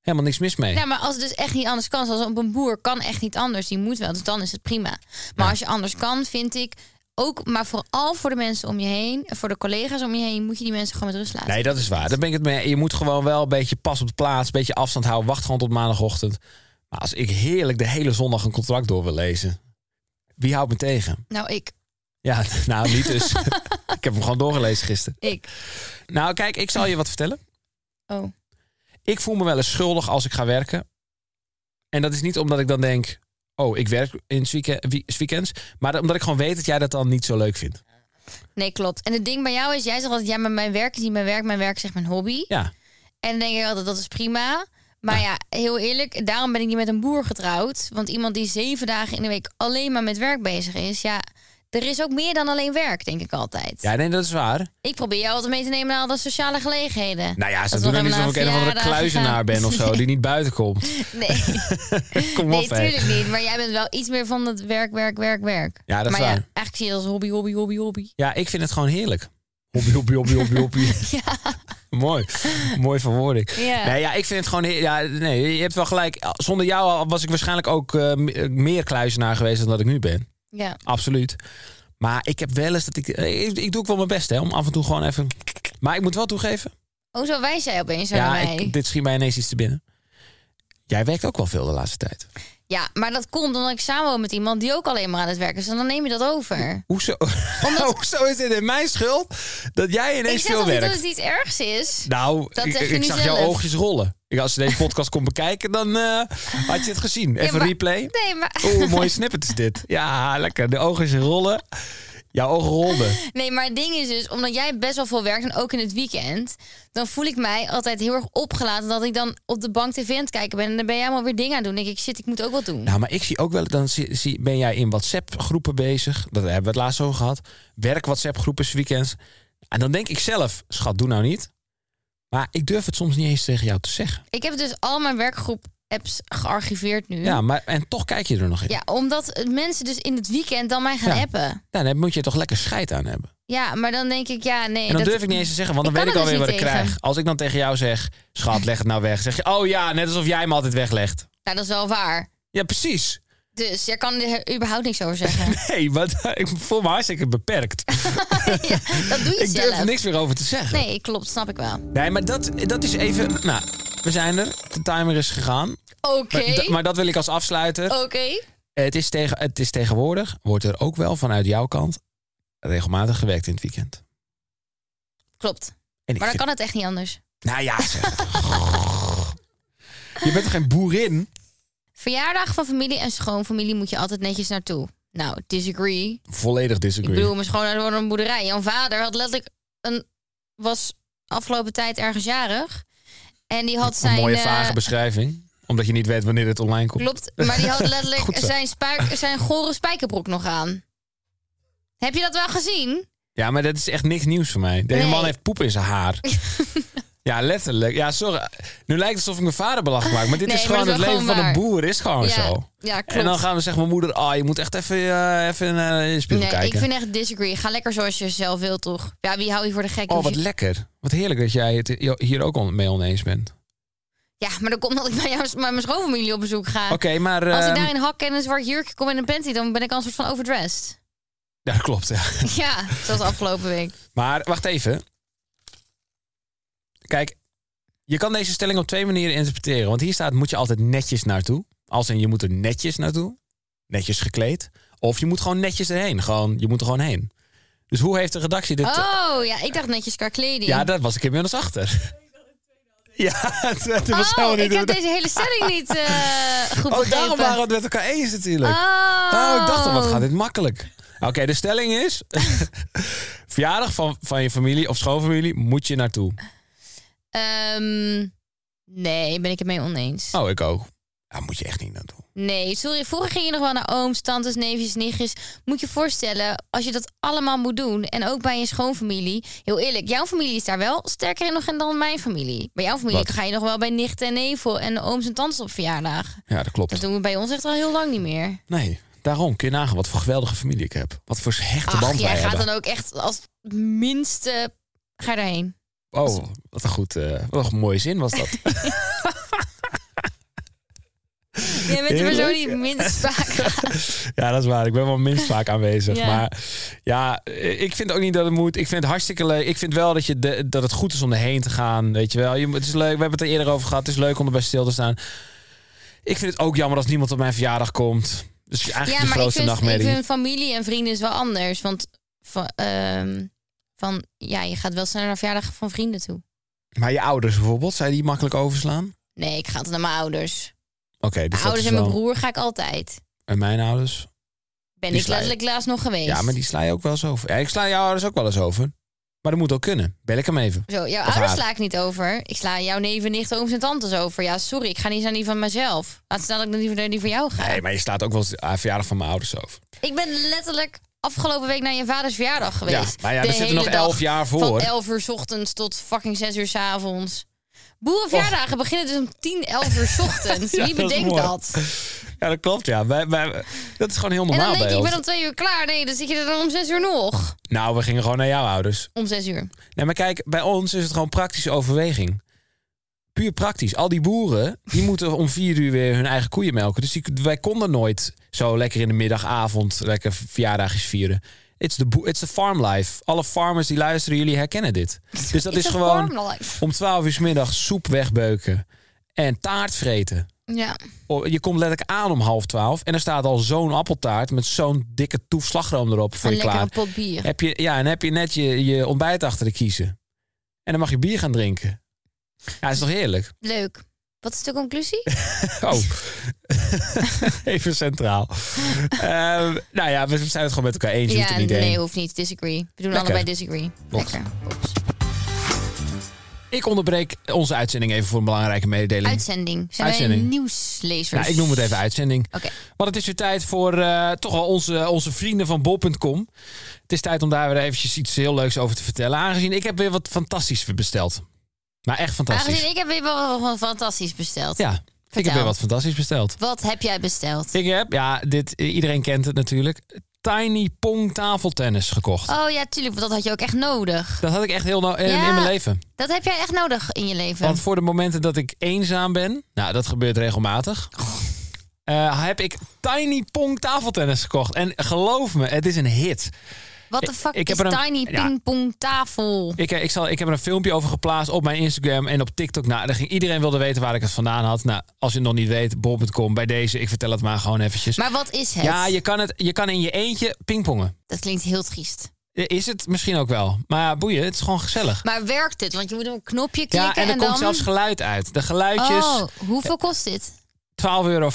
B: Helemaal niks mis mee.
C: Ja, maar als het dus echt niet anders kan, zoals op een boer kan echt niet anders, die moet wel, dus dan is het prima. Maar als je anders kan, vind ik ook, maar vooral voor de mensen om je heen, en voor de collega's om je heen, moet je die mensen gewoon met rust laten.
B: Nee, dat is waar. Daar ben ik het mee. Je moet gewoon wel een beetje pas op de plaats, een beetje afstand houden. Wacht gewoon tot maandagochtend. Maar als ik heerlijk de hele zondag een contract door wil lezen, wie houdt me tegen?
C: Nou, ik,
B: Ja, nou niet dus. ik heb hem gewoon doorgelezen gisteren.
C: ik.
B: Nou, kijk, ik zal je wat vertellen.
C: Oh,
B: Ik voel me wel eens schuldig als ik ga werken. En dat is niet omdat ik dan denk, oh, ik werk in het wieke- wie- weekends. Maar omdat ik gewoon weet dat jij dat dan niet zo leuk vindt.
C: nee, klopt. En het ding bij jou is, jij zegt altijd, ja, maar mijn werk is niet mijn werk, mijn werk is echt mijn hobby.
B: Ja,
C: En dan denk ik altijd, dat is prima. Maar ja, heel eerlijk, daarom ben ik niet met een boer getrouwd. Want iemand die zeven dagen in de week alleen maar met werk bezig is, ja, er is ook meer dan alleen werk, denk ik altijd.
B: ja nee, dat is waar.
C: Ik probeer jou altijd mee te nemen naar alle sociale gelegenheden.
B: Nou ja, ze
C: Dat
B: doen
C: we
B: er niet
C: nog
B: alsof ik
C: even
B: een of
C: naar
B: andere
C: verjaardagen
B: kluizenaar
C: gaan.
B: ben of zo, die niet buiten komt.
C: Nee,
B: Kom
C: nee
B: op, hè.
C: tuurlijk niet. Maar jij bent wel iets meer van het werk, werk, werk, werk.
B: Ja, dat is
C: maar
B: waar.
C: ja, eigenlijk zie je het als hobby, hobby, hobby, hobby.
B: Ja, ik vind het gewoon heerlijk. Hobby, hobby, hobby, hobby, hobby. Mooi. Mooi verwoording.
C: Ja.
B: Nee, ja, ik vind het gewoon... heer- Ja, nee, je hebt wel gelijk. Zonder jou was ik waarschijnlijk ook eh, me- meer kluizenaar geweest dan dat ik nu ben.
C: Ja.
B: Absoluut. Maar ik heb wel eens dat ik... eh, Ik, ik doe ook wel mijn best, hè. Om af en toe gewoon even... Maar ik moet wel toegeven.
C: Oh, zo wijs jij opeens naar
B: Ja,
C: mij.
B: ik, dit schiet mij ineens iets te binnen. Jij werkt ook wel veel de laatste tijd.
C: Ja, maar dat komt omdat ik samenwoon met iemand die ook alleen maar aan het werk is. En dan neem je dat over.
B: Hoezo, Hoezo is dit in mijn schuld dat jij
C: ik
B: ineens
C: zeg
B: veel
C: toch niet
B: werkt?
C: dat het iets ergs is?
B: Nou,
C: Dat
B: ik,
C: zeg je
B: ik
C: nu
B: zag
C: zelf.
B: jouw oogjes rollen. Ik, als je deze podcast kon bekijken, dan eh, had je het gezien. Even
C: maar-
B: replay.
C: Nee, maar...
B: Oeh, mooie snippet is dit. Ja, lekker. De oogjes rollen. Jouw ogen rolden.
C: Nee, maar het ding is dus, omdat jij best wel veel werkt en ook in het weekend, dan voel ik mij altijd heel erg opgelaten dat ik dan op de bank tv aan het kijken ben en dan ben jij allemaal weer dingen aan het doen. Dan denk ik, shit, ik moet ook wat doen.
B: Nou, maar ik zie ook wel, dan zie, zie- ben jij in WhatsApp-groepen bezig. Dat hebben we het laatst over gehad. Werk WhatsApp-groepen, 's weekends. En dan denk ik zelf, schat, doe nou niet. Maar ik durf het soms niet eens tegen jou te zeggen.
C: Ik heb dus al mijn werkgroep apps gearchiveerd nu.
B: Ja, maar en toch kijk je er nog in.
C: Ja, omdat mensen dus in het weekend dan mij gaan
B: Ja.
C: appen.
B: Nou, dan moet je toch lekker scheid aan hebben.
C: Ja, maar dan denk ik, ja, nee.
B: En dan
C: dat-
B: durf ik niet eens te zeggen, want dan
C: Ik
B: weet ik
C: kan er
B: alweer
C: dus
B: wat ik
C: niet tegen.
B: krijg. Als ik dan tegen jou zeg, schat, leg het nou weg. Zeg je, oh ja, net alsof jij me altijd weglegt.
C: Nou, dat is wel waar.
B: Ja, precies.
C: Dus jij kan er überhaupt niks over zeggen.
B: hey, wat, ik voel me hartstikke beperkt.
C: ja, dat doe je
B: ik durf
C: zelf.
B: er niks meer over te zeggen. Nee,
C: Nee, klopt, snap ik wel.
B: maar dat, dat is even... Nou, we zijn er. De timer is gegaan.
C: Oké, Oh.
B: Maar, da- maar dat wil ik als afsluiten.
C: oké.
B: Het, is tegen, het is tegenwoordig, wordt er ook wel vanuit jouw kant regelmatig gewerkt in het weekend.
C: Klopt.
B: En ik
C: Maar dan
B: vind-
C: kan het echt niet anders.
B: Nou ja, zeg. Je bent toch geen boerin?
C: Verjaardag van familie en schoonfamilie moet je altijd netjes naartoe. Nou, disagree.
B: Volledig
C: Ik
B: disagree.
C: bedoel, mijn schoonouders worden een boerderij. Jouw vader had letterlijk een, was afgelopen tijd ergens jarig. En die had zijn...
B: een mooie
C: eh,
B: vage beschrijving. Omdat je niet weet wanneer het online komt.
C: Klopt, maar die had
B: Goed
C: letterlijk
B: zo.
C: zijn, spuik, zijn gore spijkerbroek nog aan. Heb je dat wel gezien?
B: Ja, maar dat is echt niks nieuws voor mij. Deze
C: Nee.
B: man heeft poep in zijn haar. ja, letterlijk. Ja, sorry. Nu lijkt het alsof ik mijn vader belachelijk maak. Maar dit
C: Nee,
B: is
C: maar
B: gewoon
C: het is
B: het
C: wel
B: leven
C: gewoon
B: van een
C: waar.
B: boer. Is gewoon
C: ja,
B: zo.
C: ja, klopt.
B: En dan gaan we zeggen, mijn moeder, ah, je moet echt even, eh, even naar de spiegel
C: nee,
B: kijken.
C: ik vind echt disagree. Ga lekker zoals je zelf wilt, toch? Ja, wie hou je voor de gek?
B: Oh,
C: Hoef
B: wat
C: je-
B: lekker. Wat heerlijk dat jij het hier ook on- mee oneens bent.
C: Ja, maar dan komt dat ik bij jou, bij mijn schoonfamilie op bezoek ga.
B: Oké, maar...
C: Als ik
B: ehm,
C: daar in hak en een zwart jurkje kom en een panty, dan ben ik al een soort van overdressed.
B: Ja, klopt. Ja.
C: Ja, zoals afgelopen week.
B: Maar wacht even. Kijk, je kan deze stelling op twee manieren interpreteren. Want hier staat: moet je altijd netjes naartoe. Als in je moet er netjes naartoe. Netjes gekleed. Of je moet gewoon netjes erheen. Gewoon, je moet er gewoon heen. Dus hoe heeft de redactie dit.
C: Oh, ja, ik dacht netjes qua kleding.
B: ja, daar was ik inmiddels achter. Ja, het, het was
C: oh,
B: helemaal
C: ik
B: niet.
C: heb deze hele stelling niet eh, goed
B: oh,
C: begrepen.
B: daarom waren we het met elkaar eens natuurlijk.
C: Oh.
B: Oh, ik dacht al, wat gaat dit makkelijk. Oké, de stelling is... verjaardag van, van je familie of schoonfamilie moet je naartoe.
C: Ehm, nee, ben ik het mee oneens.
B: Oh, ik ook. Daar moet je echt niet naartoe.
C: Nee, sorry. Vroeger ging je nog wel naar ooms, tantes, neefjes, nichtjes. Moet je voorstellen, als je dat allemaal moet doen... en ook bij je schoonfamilie... heel eerlijk, jouw familie is daar wel sterker in nog in dan mijn familie. Bij jouw familie
B: Wat?
C: ga je nog wel bij nichten en nevel... en ooms en tantes op verjaardag.
B: Ja, dat klopt.
C: Dat doen we bij ons echt al heel lang niet meer.
B: Nee, daarom kun je nagaan wat voor geweldige familie ik heb. Wat voor hechte
C: Ach,
B: band wij
C: jij gaat
B: hebben.
C: dan ook echt als minste... Ga je daarheen.
B: Oh, wat een goed, eh, wat een mooie zin was dat.
C: Jij bent de persoon die het
B: Heerlijk.
C: minst vaak gaat.
B: ja, dat is waar. Ik ben wel minst vaak aanwezig.
C: Ja.
B: Maar ja, eh, ik vind ook niet dat het moet. Ik vind het hartstikke leuk. Ik vind wel dat, je de- dat het goed is om erheen te gaan. Weet je wel. Je, moet- het is leuk. We hebben het er eerder over gehad. Het is leuk om erbij stil te staan. Ik vind het ook jammer als niemand op mijn verjaardag komt. Dus eigenlijk
C: Ja,
B: de
C: maar ik
B: grootste
C: vind, ik
B: nachtmerrie.
C: vind familie en vrienden is wel anders. Want van, ehm, van, ja, je gaat wel sneller naar verjaardag van vrienden toe.
B: Maar je ouders bijvoorbeeld, zou je die makkelijk overslaan? Oké,
C: Nee, ik ga altijd naar mijn ouders.
B: dus
C: mijn
B: dat
C: ouders
B: is
C: en mijn
B: wel-
C: broer ga ik altijd.
B: En mijn ouders?
C: Ben
B: Die
C: ik
B: sla je.
C: letterlijk laatst nog geweest.
B: Ja, maar die sla je ook wel eens over. Ja, ik sla jouw ouders ook wel eens over. Maar dat moet ook kunnen. Bel ik hem even.
C: Zo, jouw
B: Of
C: ouders
B: haar.
C: sla ik niet over. Ik sla jouw neven, nichten, ooms en tantes over. Ja, sorry, ik ga niet aan die van mezelf. Laat staan dat ik dan liever naar die van jou ga.
B: Nee, maar je slaat ook wel eens de eh, verjaardag van mijn ouders over.
C: Ik ben letterlijk afgelopen week naar je vaders verjaardag geweest.
B: maar ja,
C: De
B: er zitten
C: hele
B: nog
C: dag
B: elf jaar voor.
C: Van 11 uur 's ochtends tot fucking 6 uur 's avonds. Boerenverjaardagen beginnen dus om 10, 11 uur 's ochtends.
B: Ja,
C: Wie
B: dat is
C: bedenkt
B: mooi.
C: dat?
B: Ja, dat klopt, ja. Wij, wij- dat is gewoon heel
C: En
B: normaal
C: dan denk
B: bij
C: je, ik
B: ons.
C: ben om 2 uur klaar. Nee, dan zit je er dan om 6 uur nog.
B: Nou, we gingen gewoon naar jouw ouders.
C: Om 6 uur.
B: Nee, maar kijk, bij ons is het gewoon praktische overweging. Puur praktisch. Al die boeren, die moeten om vier uur weer hun eigen koeien melken. Dus die, wij konden nooit zo lekker in de middag, avond, lekker verjaardagjes vieren. It's the, bo- it's the farm life. Alle farmers die luisteren, jullie herkennen dit. Dus dat
C: It's
B: is
C: a
B: gewoon
C: farm life.
B: om 12 uur 's middags soep wegbeuken en taart vreten.
C: Ja.
B: Oh, Je komt letterlijk aan om half twaalf en er staat al zo'n appeltaart met zo'n dikke toef slagroom erop voor
C: Een
B: je
C: lekkere
B: klaar.
C: pot bier.
B: Heb je, ja, en heb je net je, je ontbijt achter de kiezen. En dan mag je bier gaan drinken. Ja, is toch heerlijk?
C: Leuk. Wat is de conclusie?
B: Oh, even centraal. Ehm, nou ja, we zijn het gewoon met elkaar eens. Je hoeft
C: ja,
B: er niet
C: nee,
B: heen.
C: hoeft niet. Disagree. We doen
B: Lekker.
C: allebei disagree.
B: Box.
C: Lekker. Box.
B: Ik onderbreek onze uitzending even voor een belangrijke mededeling.
C: Uitzending. Zijn
B: Uitzending.
C: wij nieuwslezers?
B: Nou, ik noem het even uitzending.
C: Oké.
B: Want het is weer tijd voor eh, toch wel onze, onze vrienden van bol.com. Het is tijd om daar weer eventjes iets heel leuks over te vertellen. Aangezien ik heb weer wat fantastisch besteld. Maar echt fantastisch.
C: Aangezien ik heb weer wel wat fantastisch besteld.
B: Ja, ik heb
C: Vertel.
B: weer wat fantastisch besteld.
C: Wat heb jij besteld?
B: Ik heb, ja, dit, iedereen kent het natuurlijk. Tiny Pong tafeltennis gekocht.
C: Oh ja, tuurlijk, want dat had je ook echt nodig.
B: Dat had ik echt heel no- in, Eh, in
C: Ja.
B: mijn leven.
C: Dat heb jij echt nodig in je leven.
B: Want voor de momenten dat ik eenzaam ben, nou dat gebeurt regelmatig,
C: Oh.
B: eh, heb ik Tiny Pong tafeltennis gekocht. En geloof me, het is een hit.
C: Wat de fuck
B: ik
C: is
B: heb er een-
C: tiny
B: ja.
C: pingpong tafel?
B: Ik, eh, ik, zal, ik heb er een filmpje over geplaatst op mijn Instagram en op TikTok. Nou, daar ging, iedereen wilde weten waar ik het vandaan had. Nou, als je het nog niet weet, bol.com bij deze. Ik vertel het maar gewoon eventjes.
C: Maar wat is het?
B: ja, je kan, het, je kan in je eentje pingpongen.
C: Dat klinkt heel triest.
B: Eh, Is het misschien ook wel. Maar ja, boeien, het is gewoon gezellig.
C: Maar werkt het? Want je moet op een knopje klikken
B: Ja, en er
C: dan...
B: komt zelfs geluid uit. De geluidjes,
C: Oh, hoeveel kost dit?
B: 12,75 euro.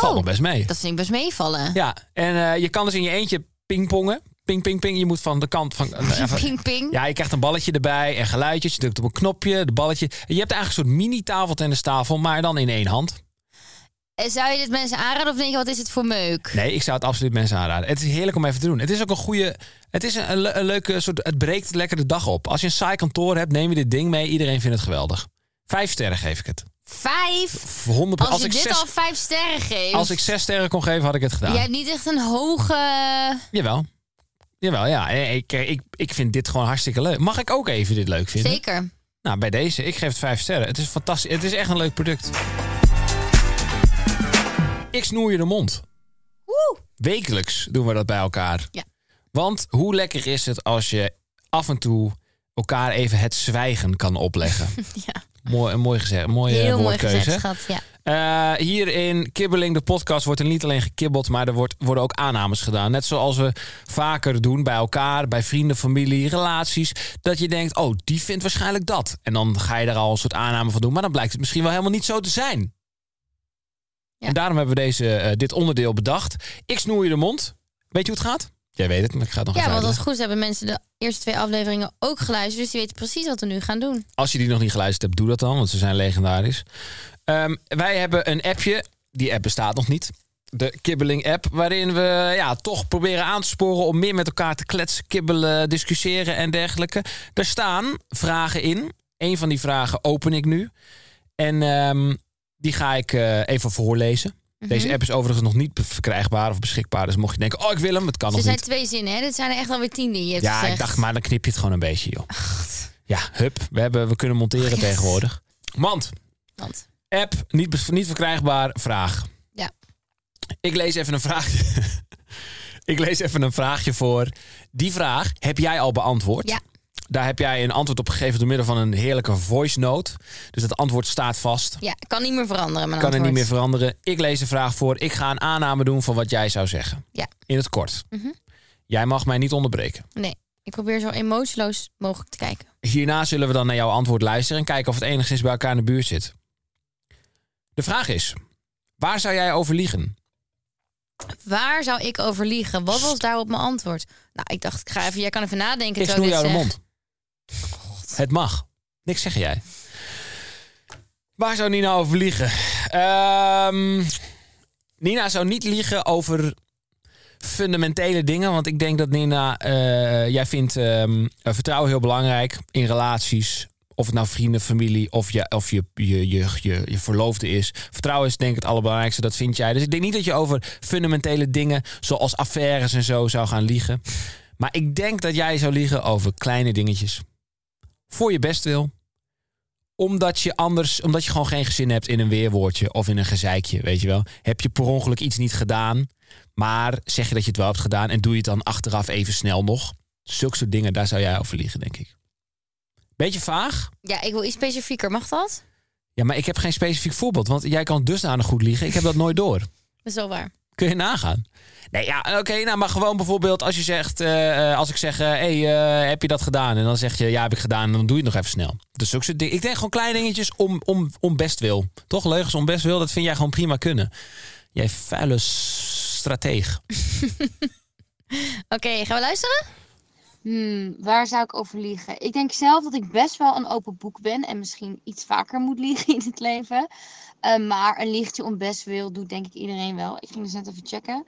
B: Valt nog best mee.
C: Oh, Dat vind ik best meevallen.
B: Ja, en eh, je kan dus in je eentje pingpongen. Ping, ping, ping. Je moet van de kant van...
C: Ping, ping.
B: Ja, je krijgt een balletje erbij en geluidjes. Je drukt op een knopje, de balletje. En Je hebt eigenlijk een soort mini-tafeltennistafel, maar dan in één hand.
C: En Zou je dit mensen aanraden of denk je, wat is het voor meuk?
B: Nee, ik zou het absoluut mensen aanraden. Het is heerlijk om even te doen. Het is ook een goede... Het is een, een, le- een leuke soort... Het breekt lekker de dag op. Als je een saai kantoor hebt, neem je dit ding mee. Iedereen vindt het geweldig. Vijf sterren geef ik het.
C: Vijf?
B: 100,
C: Als,
B: als,
C: je
B: ik
C: dit
B: zes,
C: al vijf sterren geeft...
B: als ik zes sterren kon geven, had ik het gedaan.
C: Jij hebt niet echt een hoge...
B: Jawel. Jawel, ja. Eh, Ik, eh, ik, ik vind dit gewoon hartstikke leuk. Mag ik ook even dit leuk vinden?
C: Zeker.
B: Nou, bij deze. Ik geef het vijf sterren. Het is fantastisch. Het is echt een leuk product. Ik snoer je de mond.
C: Woe.
B: Wekelijks doen we dat bij elkaar.
C: Ja.
B: Want hoe lekker is het als je af en toe elkaar even het zwijgen kan opleggen?
C: Ja.
B: mooi, een mooi gezegd. Een mooie
C: Heel mooi
B: Oh woordkeuze.
C: gezegd, schat. Ja.
B: Eh, hier in Kibbeling, de podcast, wordt er niet alleen gekibbeld, maar er wordt, worden ook aannames gedaan. Net zoals we vaker doen bij elkaar, bij vrienden, familie, relaties. Dat je denkt, oh, die vindt waarschijnlijk dat. En dan ga je daar al een soort aanname van doen, maar dan blijkt het misschien wel helemaal niet zo te zijn.
C: Ja.
B: En daarom hebben we deze, eh, dit onderdeel bedacht. Ik snoer je de mond. Weet je hoe het gaat? Jij weet het, maar ik ga het nog
C: ja,
B: even
C: want als het
B: uitleggen.
C: goed is hebben mensen de eerste twee afleveringen ook geluisterd. Dus die weten precies wat we nu gaan doen.
B: Als je die nog niet geluisterd hebt, doe dat dan, want ze zijn legendarisch. Ehm, wij hebben een appje. Die app bestaat nog niet. De Kibbeling-app, waarin we ja, toch proberen aan te sporen om meer met elkaar te kletsen, kibbelen, discussiëren en dergelijke. Daar staan vragen in. Een van die vragen open ik nu. En ehm, die ga ik eh, even voorlezen.
C: Mhm.
B: Deze app is overigens nog niet be- verkrijgbaar of beschikbaar. Dus mocht je denken, oh ik wil hem, het kan
C: Ze
B: nog
C: zijn
B: niet.
C: twee zinnen, hè? Dit zijn er echt alweer tien die je hebt
B: Ja, ik
C: gezegd.
B: dacht, maar dan knip je het gewoon een beetje, joh. Ja, hup, we, hebben, we kunnen monteren
C: Oh, yes.
B: tegenwoordig. Want
C: Want,
B: app, niet, bes- niet verkrijgbaar, vraag.
C: ja.
B: Ik lees even een vraagje. ik lees even een vraagje voor. Die vraag heb jij al beantwoord.
C: Ja.
B: Daar heb jij een antwoord op gegeven door middel van een heerlijke voice note. Dus dat antwoord staat vast.
C: ja, kan niet meer veranderen. Mijn
B: Kan er niet meer
C: antwoord.
B: veranderen. Ik lees de vraag voor. Ik ga een aanname doen van wat jij zou zeggen.
C: Ja.
B: In het kort.
C: Mhm.
B: Jij mag mij niet onderbreken.
C: Nee, ik probeer zo emotieloos mogelijk te kijken.
B: Hierna zullen we dan naar jouw antwoord luisteren en kijken of het enigszins bij elkaar in de buurt zit. De vraag is: waar zou jij over liegen?
C: Waar zou ik over liegen? Wat was daarop mijn antwoord? Nou, ik dacht, ik ga even, jij kan even nadenken.
B: Ik
C: terwijl
B: snoei jou de
C: dit
B: mond. Het mag. Niks zeg jij. Waar zou Nina over liegen? Ehm, Nina zou niet liegen over fundamentele dingen. Want ik denk dat Nina, eh, jij vindt ehm, eh, vertrouwen heel belangrijk in relaties. Of het nou vrienden, familie of, je, of je, je, je, je, je verloofde is. Vertrouwen is denk ik het allerbelangrijkste, dat vind jij. Dus ik denk niet dat je over fundamentele dingen zoals affaires en zo zou gaan liegen. Maar ik denk dat jij zou liegen over kleine dingetjes. Voor je best wil. Omdat je anders, omdat je gewoon geen gezin hebt in een weerwoordje of in een gezeikje, weet je wel. Heb je per ongeluk iets niet gedaan, maar zeg je dat je het wel hebt gedaan en doe je het dan achteraf even snel nog. Zulke soort dingen, daar zou jij over liegen, denk ik. Beetje vaag.
C: echt- Ja, ik wil iets specifieker. Mag dat?
B: Ja, maar ik heb geen specifiek voorbeeld, want jij kan dusdanig goed liegen. Ik heb dat nooit door.
C: Dat is wel waar.
B: Kun je nagaan. Nee, ja, oké, nou, maar gewoon bijvoorbeeld als je zegt, eh, eh, als ik zeg, eh, hey, eh, heb je dat gedaan? En dan zeg je, ja, heb ik gedaan. En dan doe je het nog even snel. Dus ook soort dingen. Ik denk gewoon kleine dingetjes om, om, om best wil. Toch? Leugens om best wil, dat vind jij gewoon prima kunnen. Jij vuile s- strateeg.
C: Oké, gaan we luisteren?
F: Hmm, waar zou ik over liegen? Ik denk zelf dat ik best wel een open boek ben en misschien iets vaker moet liegen in het leven. Eh, maar een lichtje om best wil doet denk ik iedereen wel. Ik ging dus net even checken.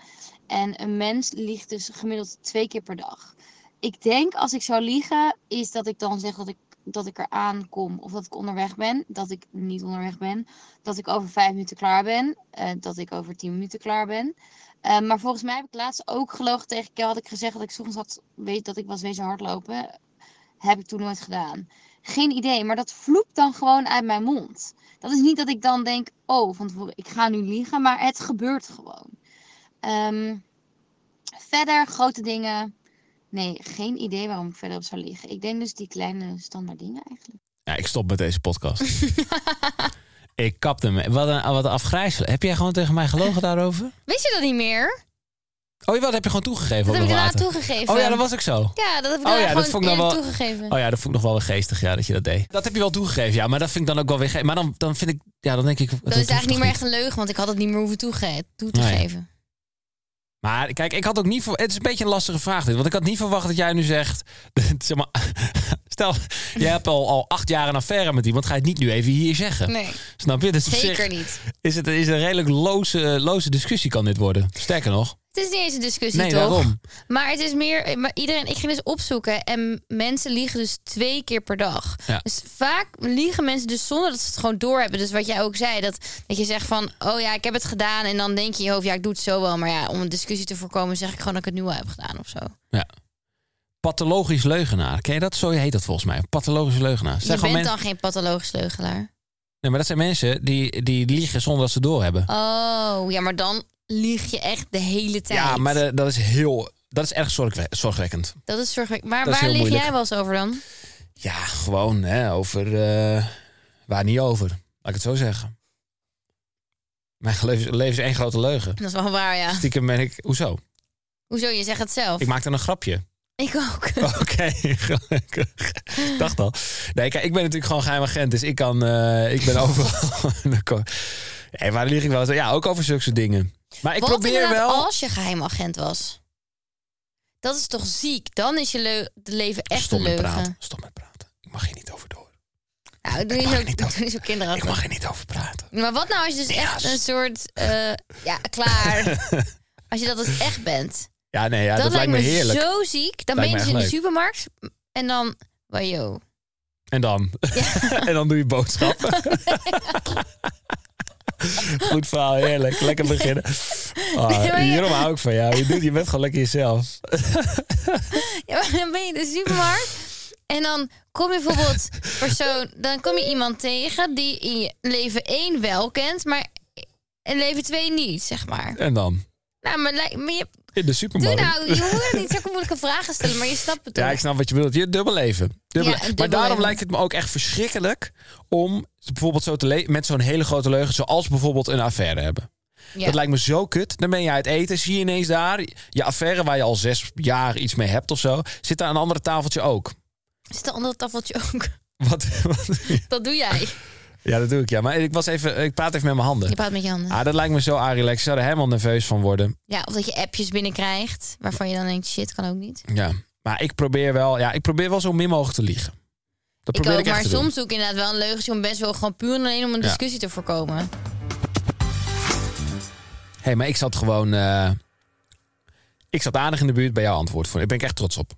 F: En een mens liegt dus gemiddeld twee keer per dag. Ik denk als ik zou liegen, is dat ik dan zeg dat ik, dat ik eraan kom of dat ik onderweg ben. Dat ik niet onderweg ben. Dat ik over vijf minuten klaar ben. eh, dat ik over tien minuten klaar ben. Eh, maar volgens mij heb ik laatst ook gelogen tegen Kel. Had ik gezegd dat ik soms had, weet, dat ik was wezen hardlopen. Heb ik toen nooit gedaan. Geen idee, maar dat vloept dan gewoon uit mijn mond. Dat is niet dat ik dan denk, oh, van tevoren, ik ga nu liegen. Maar het gebeurt gewoon. Ehm, verder, grote dingen. Nee, geen idee waarom ik verder op zou liggen. Ik denk dus die kleine standaard dingen eigenlijk.
B: Ja, ik stop met deze podcast. ik kapte hem. Wat een, wat een afgrijzelijk. Heb jij gewoon tegen mij gelogen daarover?
C: Wist je dat niet meer?
B: Oh, jawel, dat heb je gewoon toegegeven.
C: Dat
B: op
C: heb ik
B: nog
C: daarna
B: later.
C: toegegeven.
B: Oh ja, dat was ik zo.
C: Ja, dat heb ik
B: Oh
C: daarna
B: ja, dat
C: gewoon
B: vond ik dan
C: eerlijk
B: wel-
C: toegegeven.
B: Oh ja, dat vond ik nog wel weer geestig, ja, dat je dat deed. Dat heb je wel toegegeven, ja. Maar dat vind ik dan ook wel weer ge- Maar dan, dan vind ik, ja, dan denk ik...
C: dat is eigenlijk niet meer echt een leugen, want ik had het niet meer hoeven toege toe te
B: Nee.
C: geven.
B: Maar kijk, ik had ook niet... Voor, het is een beetje een lastige vraag dit. Want ik had niet verwacht dat jij nu zegt... zeg maar, stel, jij hebt al, al acht jaar een affaire met iemand. Ga je het niet nu even hier zeggen?
C: Nee,
B: Snap je? Dus op zich
C: zeker niet.
B: Is het is het een redelijk loze, eh, loze discussie kan dit worden. Sterker nog.
C: Het is niet eens een discussie,
B: Nee,
C: toch?
B: daarom.
C: Maar het is meer... Maar iedereen, ik ging dus opzoeken en mensen liegen dus twee keer per dag.
B: Ja.
C: Dus vaak liegen mensen dus zonder dat ze het gewoon doorhebben. Dus wat jij ook zei, dat, dat je zegt van... Oh ja, ik heb het gedaan. En dan denk je in je hoofd, ja, ik doe het zo wel. Maar ja, om een discussie te voorkomen zeg ik gewoon dat ik het nu al heb gedaan of zo.
B: Ja. Pathologisch leugenaar. Ken je dat? Zo heet dat volgens mij. Pathologisch leugenaar. Het
C: Je
B: zijn
C: bent
B: gewoon men-
C: dan geen pathologisch leugelaar.
B: Nee, maar dat zijn mensen die, die liegen zonder dat ze doorhebben.
C: Oh, ja, maar dan lieg je echt de hele tijd.
B: Ja, maar de- dat is heel. Dat is erg zorgwe- zorgwekkend.
C: Dat is zorgwekkend. Maar
B: Dat is
C: waar
B: heel
C: lig
B: moeilijk.
C: jij wel eens over dan?
B: Ja, gewoon hè, over. eh, waar niet over. Laat ik het zo zeggen. Mijn leven, leven is één grote leugen.
C: Dat is wel waar, ja.
B: Stiekem ben ik. Hoezo?
C: Hoezo, je zegt het zelf.
B: Ik maak dan een grapje.
C: Ik ook.
B: Oké, gelukkig. Dacht al. Nee, kijk, ik ben natuurlijk gewoon geheim agent, dus ik kan. eh, ik ben overal. nee, waar lieg ik wel? eens? Ja, ook over zulke soort dingen. Maar ik
C: Wat
B: probeer
C: inderdaad
B: wel.
C: als je geheim agent was. Dat is toch ziek? Dan is je leu- de leven echt
B: Stop
C: een
B: met
C: leugen.
B: praten. Stop met praten. Ik mag hier niet over door.
C: Ja, doe je
B: mag
C: zo,
B: er niet over.
C: doe je zo
B: Ik
C: kinderachtig.
B: mag er niet over praten.
C: Maar wat nou als je dus echt
B: Yes.
C: een soort... eh, ja, klaar. als je dat dus echt bent.
B: Ja, nee, ja,
C: dat,
B: dat, lijkt me heerlijk.
C: zo ziek. Dan
B: Lijkt
C: ben je
B: me
C: dus
B: echt
C: in de
B: leuk.
C: supermarkt. En dan... Wajo.
B: En dan? en dan doe je boodschappen. Goed verhaal, heerlijk. Lekker beginnen. Ah,
C: Nee, maar je-
B: hierom hou ik van jou. Je, doet, je bent gewoon lekker jezelf.
C: Ja, maar dan ben je in de supermarkt. En dan kom je bijvoorbeeld persoon, dan kom je iemand tegen die in je leven 1 wel kent, maar in leven 2 niet, zeg maar.
B: En dan?
C: Nou, maar, lijk- maar je,
B: In de
C: doe
B: supermarkt.
C: nou, je moet er niet zulke moeilijke vragen stellen, maar je snapt het
B: Oh, Ja,
C: toch?
B: ik snap wat je bedoelt. Je dubbel leven. Dubbel-
C: Ja, een dubbel
B: maar daarom
C: leven.
B: lijkt het me ook echt verschrikkelijk om bijvoorbeeld zo te le- met zo'n hele grote leugen, zoals bijvoorbeeld een affaire hebben.
C: Ja.
B: Dat lijkt me zo kut. Dan ben je uit eten, zie je ineens daar je affaire waar je al zes jaar iets mee hebt of zo, zit daar een andere tafeltje ook.
C: Zit er onder het tafeltje ook.
B: Wat, wat-
C: Dat doe jij.
B: ja, dat doe ik ja. Maar ik was even, ik praat even met mijn handen.
C: Je praat met je handen.
B: Ah, dat lijkt me zo arilex. Ik zou er helemaal nerveus van worden.
C: Ja, of dat je appjes binnenkrijgt waarvan je dan denkt, shit, kan ook niet.
B: Ja. Maar ik probeer wel, ja, ik probeer wel zo min mogelijk te liegen. Dat
C: Ik
B: probeer
C: ook,
B: ik echt
C: maar
B: te doen.
C: soms zoek ik inderdaad wel een leugentje om best wel gewoon puur en alleen om een
B: Ja.
C: discussie te voorkomen.
B: Hé, hey, maar ik zat gewoon. eh, ik zat aardig in de buurt bij jouw antwoord voor. Ik ben ik echt trots op.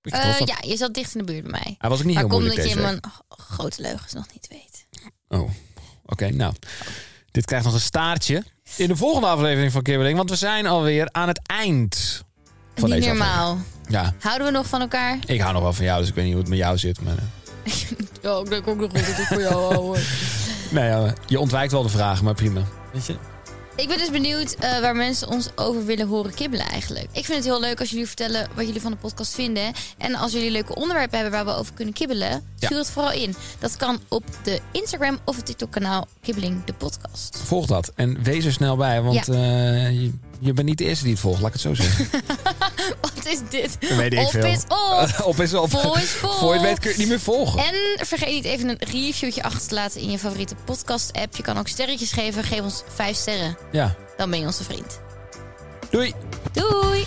B: Ben ik
C: Eh,
B: trots op.
C: ja, je zat dicht in de buurt bij mij.
B: Hij was ook niet
C: Maar
B: heel
C: komt
B: moeilijk
C: dat je
B: deze
C: mijn g- grote leugens nog niet weet.
B: week. Oh, oké. nou, dit krijgt nog een staartje in de volgende aflevering van Kibbeling, want we zijn alweer aan het eind. Van
C: niet
B: deze
C: normaal.
B: Ja,
C: Houden we nog van elkaar?
B: ik hou nog wel van jou, dus ik weet niet hoe het met jou zit. Maar, eh,
C: Ja, ik denk ook nog goed dat ik voor jou hou.
B: nou ja, je ontwijkt wel de vragen, maar prima. Weet je?
C: Ik ben dus benieuwd eh, waar mensen ons over willen horen kibbelen eigenlijk. Ik vind het heel leuk als jullie vertellen wat jullie van de podcast vinden. En als jullie leuke onderwerpen hebben waar we over kunnen kibbelen,
B: Ja.
C: stuur het vooral in. Dat kan op de Instagram of het TikTok kanaal Kibbeling de podcast.
B: Volg dat en wees er snel bij, want
C: Ja.
B: eh, je, je bent niet de eerste die het volgt, laat ik het zo zeggen.
C: Wat is dit?
B: weet ik
C: op
B: veel. Oh.
C: is op.
B: op is op.
C: Vol is vol.
B: Voor je het weet kun je het niet meer volgen.
C: En vergeet niet even een reviewtje achter te laten in je favoriete podcast-app. Je kan ook sterretjes geven. Geef ons vijf sterren.
B: Ja,
C: Dan ben je onze vriend.
B: doei.
C: Doei!